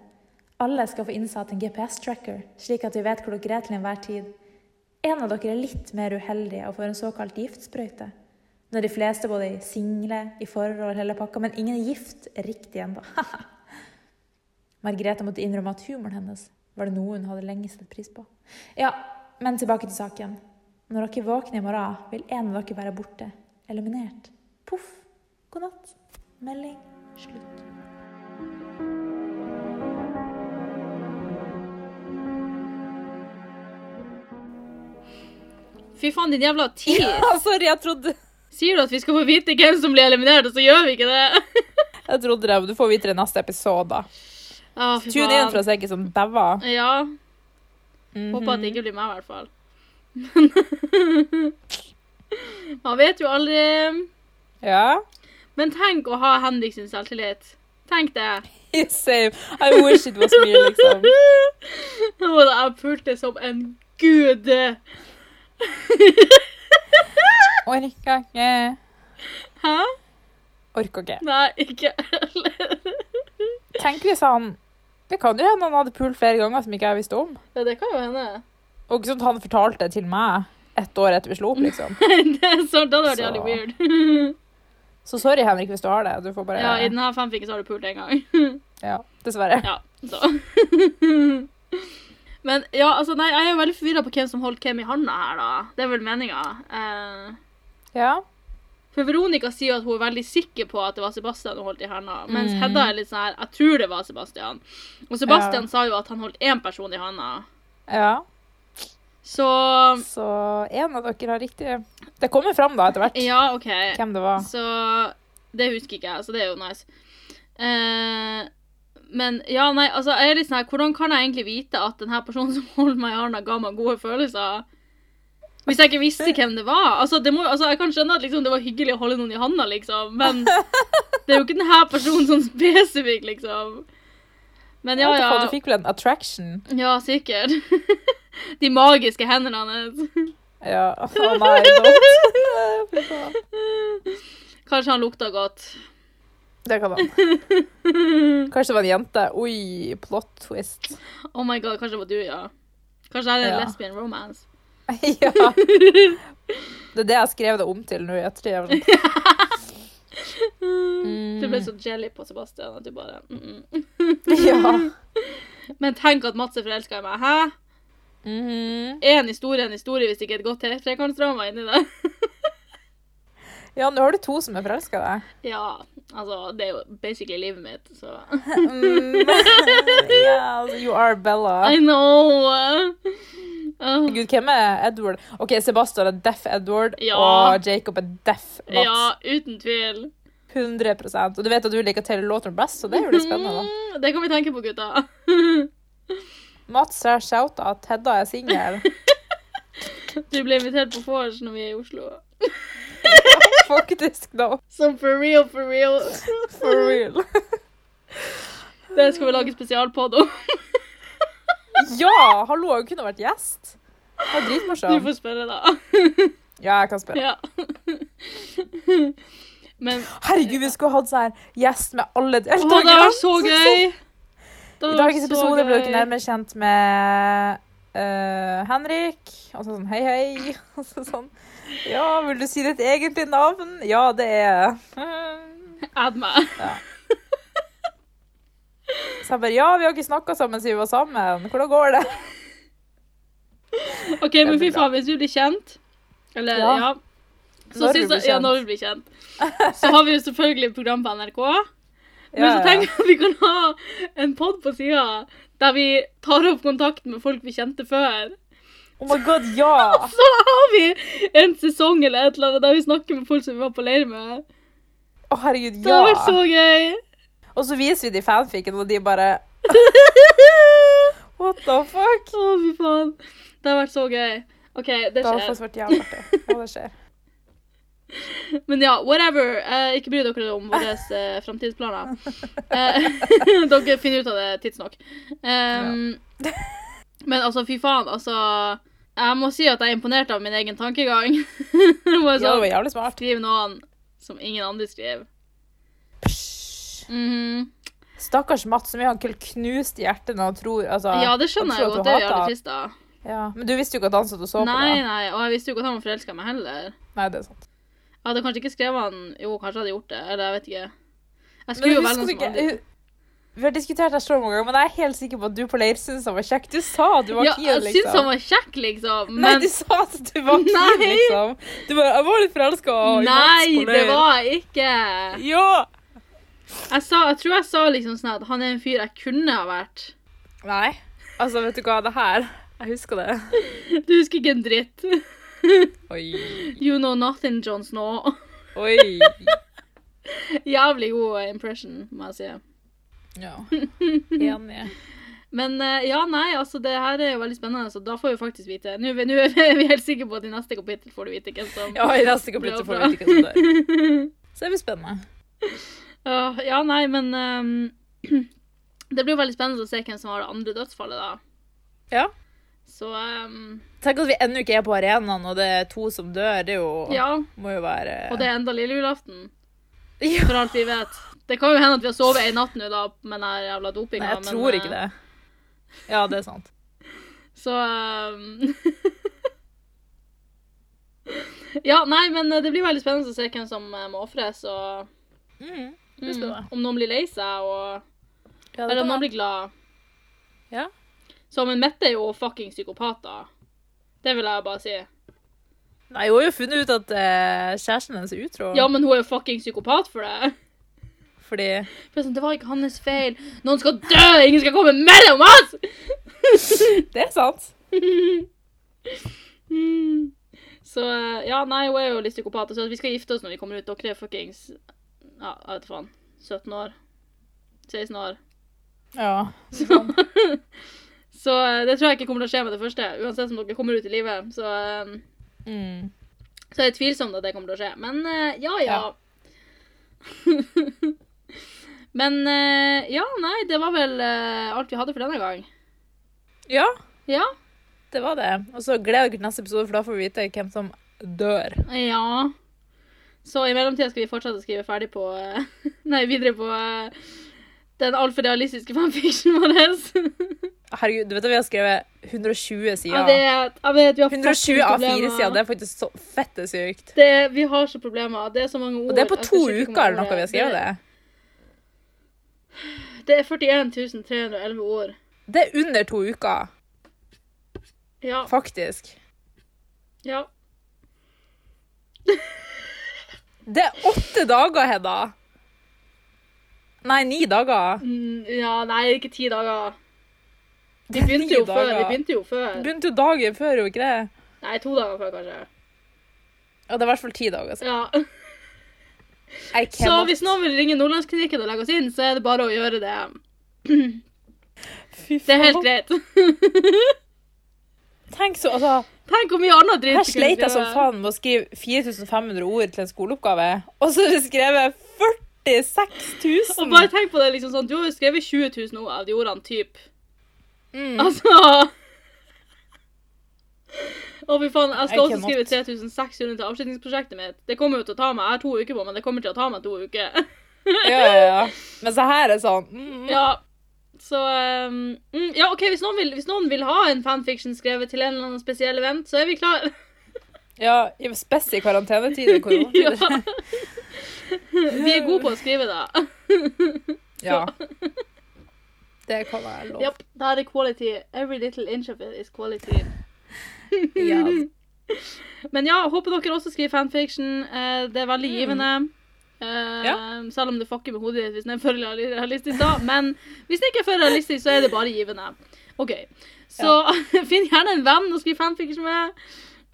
D: Alle skal få innsatt en GPS-tracker, slik at vi vet hvor dere er til enhver tid. En av dere er litt mer uheldig og får en såkalt giftsprøyte. Nå er de fleste både i single, i forhold og hele pakka, men ingen er gift riktig ennå. Margrethe måtte innrømme at humoren hennes var det noe hun hadde lenge sett pris på. Ja, men tilbake til saken. Når dere våkner i morgen, vil en av dere være borte. Eliminert. Poff. God natt. Melding slutt.
A: Fy faen, din jævla tid!
B: Ah, sorry, jeg trodde
A: Sier du at vi skal få vite hvem som blir eliminert, og så gjør vi ikke det?
B: Jeg trodde det, men du får vite det i neste episode.
A: Ah, fy
B: Tune
A: faen.
B: inn for å se ikke som daua.
A: Ja. Håper at det ikke blir meg, i hvert fall. Men Man vet jo aldri.
B: Ja.
A: Men tenk å ha Henrik sin selvtillit. Tenk det.
B: Same. I wish it was me, liksom.
A: Nå da jeg pulte som en gud.
B: Orka ikke.
A: Hæ?
B: Orka ikke.
A: Nei, ikke heller.
B: Tenk hvis han Det kan jo hende han hadde pult flere ganger som ikke jeg visste om.
A: Ja, det kan jo hende.
B: Og ikke sånn at han fortalte det til meg ett år etter vi slo opp, liksom.
A: Det er sant, det hadde vært
B: Så-
A: jævlig weird.
B: Så sorry, Henrik, hvis du har det. Du får bare
A: Ja, I denne fanficken så har du pult en gang.
B: Ja, dessverre.
A: Ja, så. Men ja, altså, nei, jeg er jo veldig forvirra på hvem som holdt hvem i handa her, da. Det er vel meninga. Eh,
B: Ja.
A: for Veronica sier jo at hun er veldig sikker på at det var Sebastian hun holdt i handa, mens
B: Mm.
A: Hedda er litt sånn her Jeg tror det var Sebastian. Og Sebastian
B: Ja.
A: sa jo at han holdt én person i handa.
B: ja.
A: Så
B: Så en av dere har riktig. Det kommer fram da etter hvert
A: Ja, OK.
B: hvem det var.
A: Så det husker ikke jeg, så det er jo nice. Eh, men ja, nei, altså, jeg er litt sånn her Hvordan kan jeg egentlig vite at denne personen som holdt meg i hånda, ga meg gode følelser? Hvis jeg ikke visste hvem det var. Altså, det må, jo- altså Jeg kan skjønne at liksom, det var hyggelig å holde noen i handa, liksom, men det er jo ikke denne personen sånn spesifikk, liksom. Men ja,
B: Jeg vet ikke, Du
A: ja.
B: fikk vel en attraction?
A: Ja, sikkert. De magiske hendene hans.
B: Ja. Å nei, don't. Fy faen.
A: Kanskje han lukta godt.
B: Det kan han. Kanskje det var en jente. Oi, plot twist.
A: Oh my god, kanskje det var du, ja. Kanskje det er en
B: Ja.
A: lesbian romance.
B: ja. Det er det jeg skrev det om til nå i ettertid. Jeg var sånn, Mm.
A: Du ble så jelly på Sebastian at du bare mm -mm.
B: Ja.
A: Men tenk at Mats er forelska i meg. Hæ?
B: Mhm.
A: Én historie er en historie hvis det ikke er et godt tre- trekantsdrama inni det.
B: Ja, nå har du to som er forelska i deg.
A: Ja, altså Det er jo basically livet mitt, så
B: Mm. Yeah, altså, you are Bella.
A: I know! Åh,
B: Gud, hvem er Edward? OK, Sebastian er deff Edward,
A: Ja.
B: og Jacob er deff Mats.
A: ja, uten tvil.
B: 100 Og du vet at du liker Taylor Lautner best, så det er jo litt spennende. da.
A: Mm, Det kan vi tenke på, gutta.
B: Mats har shouta at Hedda er singel.
A: Du ble invitert på vors når vi er i Oslo.
B: Faktisk, da.
A: Som for real, for real.
B: For real.
A: Det skal vi lage spesialpod om.
B: Ja! Hallo, hun kunne vært gjest. Det var
A: Du
B: dritmorsom.
A: får spørre, da.
B: Ja, jeg kan spørre.
A: Ja. Men å,
B: Herregud, vi skulle hatt sånn her gjest med alle
A: det hadde vært så gøy! Det
B: I
A: hadde
B: dagens
A: vært så
B: episode ble dere
A: gøy.
B: nærmere kjent med eh, Henrik. Og så sånn hei, hei. Og så sånn Ja, vil du si ditt egentlige navn? Ja, det er eh,
A: Add meg.
B: Så jeg bare Ja, vi har ikke snakka sammen siden vi var sammen. Hvordan går det?
A: OK, men fy
B: blir bra.
A: faen, hvis vi blir kjent Eller,
B: Ja.
A: ja. Så
B: Når vi
A: syns
B: blir
A: jeg, ja,
B: kjent.
A: når vi blir kjent. Så har vi jo selvfølgelig et program på NRK. Men så
B: Ja, ja,
A: tenker jeg at vi kan ha en pod på sida der vi tar opp kontakt med folk vi kjente før.
B: ja. Oh my god, ja!
A: Så har vi en sesong eller et eller annet der vi snakker med folk som vi var på leir med.
B: Å, herregud,
A: Det hadde vært
B: ja!
A: så gøy.
B: Og så viser vi de fanficken, og de bare What the fuck?
A: Å, fy faen. Det hadde vært så gøy. OK, det
B: Det hadde
A: skjer.
B: faktisk vært jævlig artig. Ja, det skjer.
A: Men ja, whatever. Eh, ikke bry dere om våre eh, framtidsplaner. Eh, dere finner ut av det tidsnok. Ehm, Men altså, fy faen, altså Jeg må si at jeg er imponert av min egen tankegang. Det var
B: Ja, det var
A: sånn,
B: jævlig smart.
A: Skriv noen som ingen andre skriver.
B: Psj.
A: Mhm.
B: Stakkars Mats, så mye han kunne knust i hjertet når han tror altså,
A: Ja, det skjønner
B: han tror
A: jeg godt.
B: at du
A: Det er jo
B: hater han.
A: jævlig trist, da.
B: Ja, Men du visste jo ikke at han satt og så
A: Nei,
B: på deg.
A: nei, og jeg visste jo ikke at han var forelska i meg heller.
B: Nei, det er sant.
A: Jeg hadde kanskje ikke skrevet han Jo, kanskje jeg hadde gjort det. Eller jeg vet ikke. Jeg skulle
B: Men
A: jo
B: husker
A: velge
B: du
A: noen som
B: ikke
A: aldri
B: Vi har diskutert det så mange ganger, men jeg er helt sikker på at du på leir syntes han var kjekk. Du sa at du var
A: Ja,
B: keen,
A: jeg
B: liksom.
A: syns han var kjekk, liksom,
B: Nei,
A: men
B: du sa at du var keen,
A: Nei!
B: liksom. Du bare, jeg var litt forelska i Mats
A: Nei,
B: på
A: det
B: leir.
A: var jeg ikke.
B: Ja!
A: Jeg, sa, jeg tror jeg sa liksom sånn at han er en fyr jeg kunne ha vært.
B: Nei. Altså, vet du hva, det her Jeg husker det.
A: Du husker ikke en dritt.
B: Oi.
A: You know nothing, John Snow.
B: Oi.
A: Jævlig god impression, må jeg si.
B: Ja. Enig.
A: Men eh, ja, nei, altså det her er jo veldig spennende, så da får vi faktisk vite. Nå, er vi- nå er vi helt sikre på at i neste kapittel får du vite hvem som
B: Ja, i neste
A: Bra,
B: kapittel får
A: bra.
B: vi vite hva som dør. Så det blir spennende.
A: Åh, Ja, nei, men ehm, Det blir jo veldig spennende å se hvem som har det andre dødsfallet, da.
B: Ja.
A: Så ehm,
B: Tenk at vi ennå ikke er på arenaen, og det er to som dør. Det er jo,
A: ja.
B: må jo være
A: Og det er enda lille julaften.
B: Ja.
A: For alt vi vet. Det kan jo hende at vi har sovet en natt nå da, med den her jævla dopinga.
B: Nei, jeg tror ikke
A: eh,
B: det. Ja, det er sant.
A: Så ehm, eh, Ja, nei, men eh, det blir veldig spennende å se hvem som eh, må ofres, og
B: Det blir spennende.
A: om noen blir lei seg, og
B: Mm. Ja, det
A: Eller om
B: kan
A: noen
B: være.
A: blir glad.
B: Ja.
A: Så men Mette er jo fucking psykopat, da. Det vil jeg bare si.
B: Nei, hun har jo funnet ut at eh, kjæresten hennes er utro.
A: Ja, men hun er jo fucking psykopat for det.
B: Fordi
A: For det er sånn, Det var ikke hans feil. Noen skal dø! Ingen skal komme mellom oss!
B: Det er sant.
A: Mm. Så eh, ja, nei, hun er jo litt psykopat. Så vi skal gifte oss når vi kommer ut. Dere er fuckings ja, jeg vet faen. 17 år. 16 år.
B: Ja.
A: Så eh, det tror jeg ikke kommer til å skje med det første. Uansett om dere kommer ut i livet. Så, eh,
B: Mm.
A: så er det tvilsomt at det kommer til å skje. Men eh, ja, ja.
B: Ja.
A: Men eh, ja, nei, det var vel eh, alt vi hadde for denne gang.
B: ja,
A: Ja.
B: det var det. Og så gleder dere til neste episode, for da får vi vite hvem som dør.
A: Ja. Så i mellomtida skal vi fortsette å skrive ferdig på eh, Nei, videre på eh, den altfor realistiske fanfictionen vår.
B: Herregud, du vet at vi har skrevet 120
A: Jeg
B: sider.
A: vet, jeg vet, vi har
B: 120
A: fucking
B: av
A: problemer.
B: fire sider. Det er faktisk så fette sykt.
A: Det- Vi har så problemer. Det er så mange ord.
B: Og det er på
A: Jeg
B: to
A: skal sjekke hvor
B: uker eller
A: mange ord
B: noe vi har skrevet det.
A: Det er 41 311 ord.
B: Det er under to uker,
A: Ja.
B: faktisk.
A: ja.
B: Det er åtte dager, Hedda! Nei, ni dager.
A: Mm, ja, nei, ikke ti dager.
B: Vi
A: Begynte jo før. Vi begynte jo før.
B: Begynte jo dagen før, jo ikke det?
A: Nei, to dager før, kanskje.
B: Ja, det er i hvert fall ti dager. altså. Så.
A: Ja.
B: I
A: Så
B: cannot.
A: hvis noen vil ringe Nordlandsklinikken og legge oss inn, så er det bare å gjøre det.
B: Fy
A: Det er helt
B: faen.
A: greit.
B: Tenk så, altså,
A: Tenk hvor mye annet dritt
B: her
A: du kunne
B: sleit jeg som
A: skrive.
B: faen med å skrive 4500 ord til en skoleoppgave, og så har vi skrevet 46
A: Og
B: 000!
A: bare tenk på det liksom sånn, Du har jo skrevet 20 000 ord av de ordene typ. Altså Å, fy faen. Jeg skal
B: I
A: også
B: cannot.
A: skrive 3600 til avslutningsprosjektet mitt. Det kommer jo til å ta meg Jeg har to uker på, men det kommer til å ta meg to uker.
B: Ja, ja, ja. Men så her er sånn mm.
A: Ja. Så ehm, mm, Ja, OK, hvis noen, vil, hvis noen vil ha en fanfiction skrevet til en eller annen spesiell event, så er vi klare.
B: Ja, ja spes i karantenetider.
A: ja.
B: koronatider.
A: Vi er gode på å skrive, da.
B: Ja. Det kan være lov.
A: Japp, Da er det quality. Every little inch of it is quality.
B: Ja.
A: Men ja, håper dere også skriver fanfiction. Eh, det er veldig
B: Mm.
A: givende. Eh, Selv om det fucker med hodet ditt hvis den er for reali- realistisk, da. Men hvis den ikke er for realistisk, så er det bare givende. OK. Så finn gjerne en venn å skrive fanfiction med.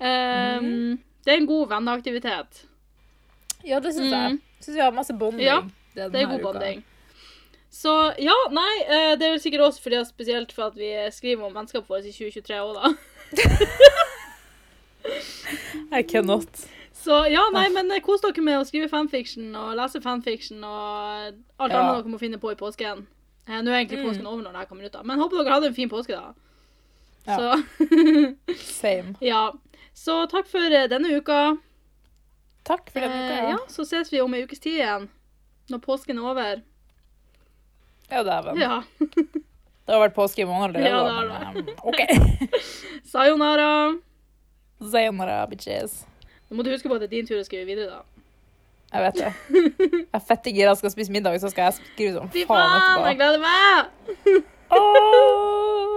A: Eh,
B: Mm.
A: Det er en god venneaktivitet.
B: ja, det syns jeg.
A: Mm.
B: Syns vi har masse bonding.
A: Ja,
B: denne
A: Det er god
B: uka.
A: bonding. Så ja, nei, eh, det er vel sikkert også fordi, spesielt for at vi skriver om vennskapet vårt i 2023 òg, da.
B: I cannot.
A: Så ja, nei,
B: Ah.
A: men eh, kos dere med å skrive fanfiction og lese fanfiction og alt
B: Ja. Mm.
A: annet dere må finne på i påsken. Eh, nå er egentlig påsken over når det her kommer ut, da. Men håper dere hadde en fin påske, da.
B: Ja.
A: Så
B: Same.
A: ja. Så takk for eh, denne uka.
B: Takk for denne
A: Eh,
B: uka.
A: ja,
B: Ja,
A: så ses vi om ei ukes tid igjen. Når påsken er over.
B: ja dæven.
A: Ja.
B: Det har vært påske i måneden allerede.
A: Ja,
B: da,
A: det har
B: men, um, OK.
A: Sayonara.
B: Sayonara, bitches.
A: Nå må du huske på at det er din tur å skrive videre, da.
B: altså, Jeg vet det. Jeg er fette gira sånn skal spise middag, så skal jeg skrive som
A: Fy
B: faen
A: faen, jeg
B: etterpå.
A: gleder meg!
B: Åh!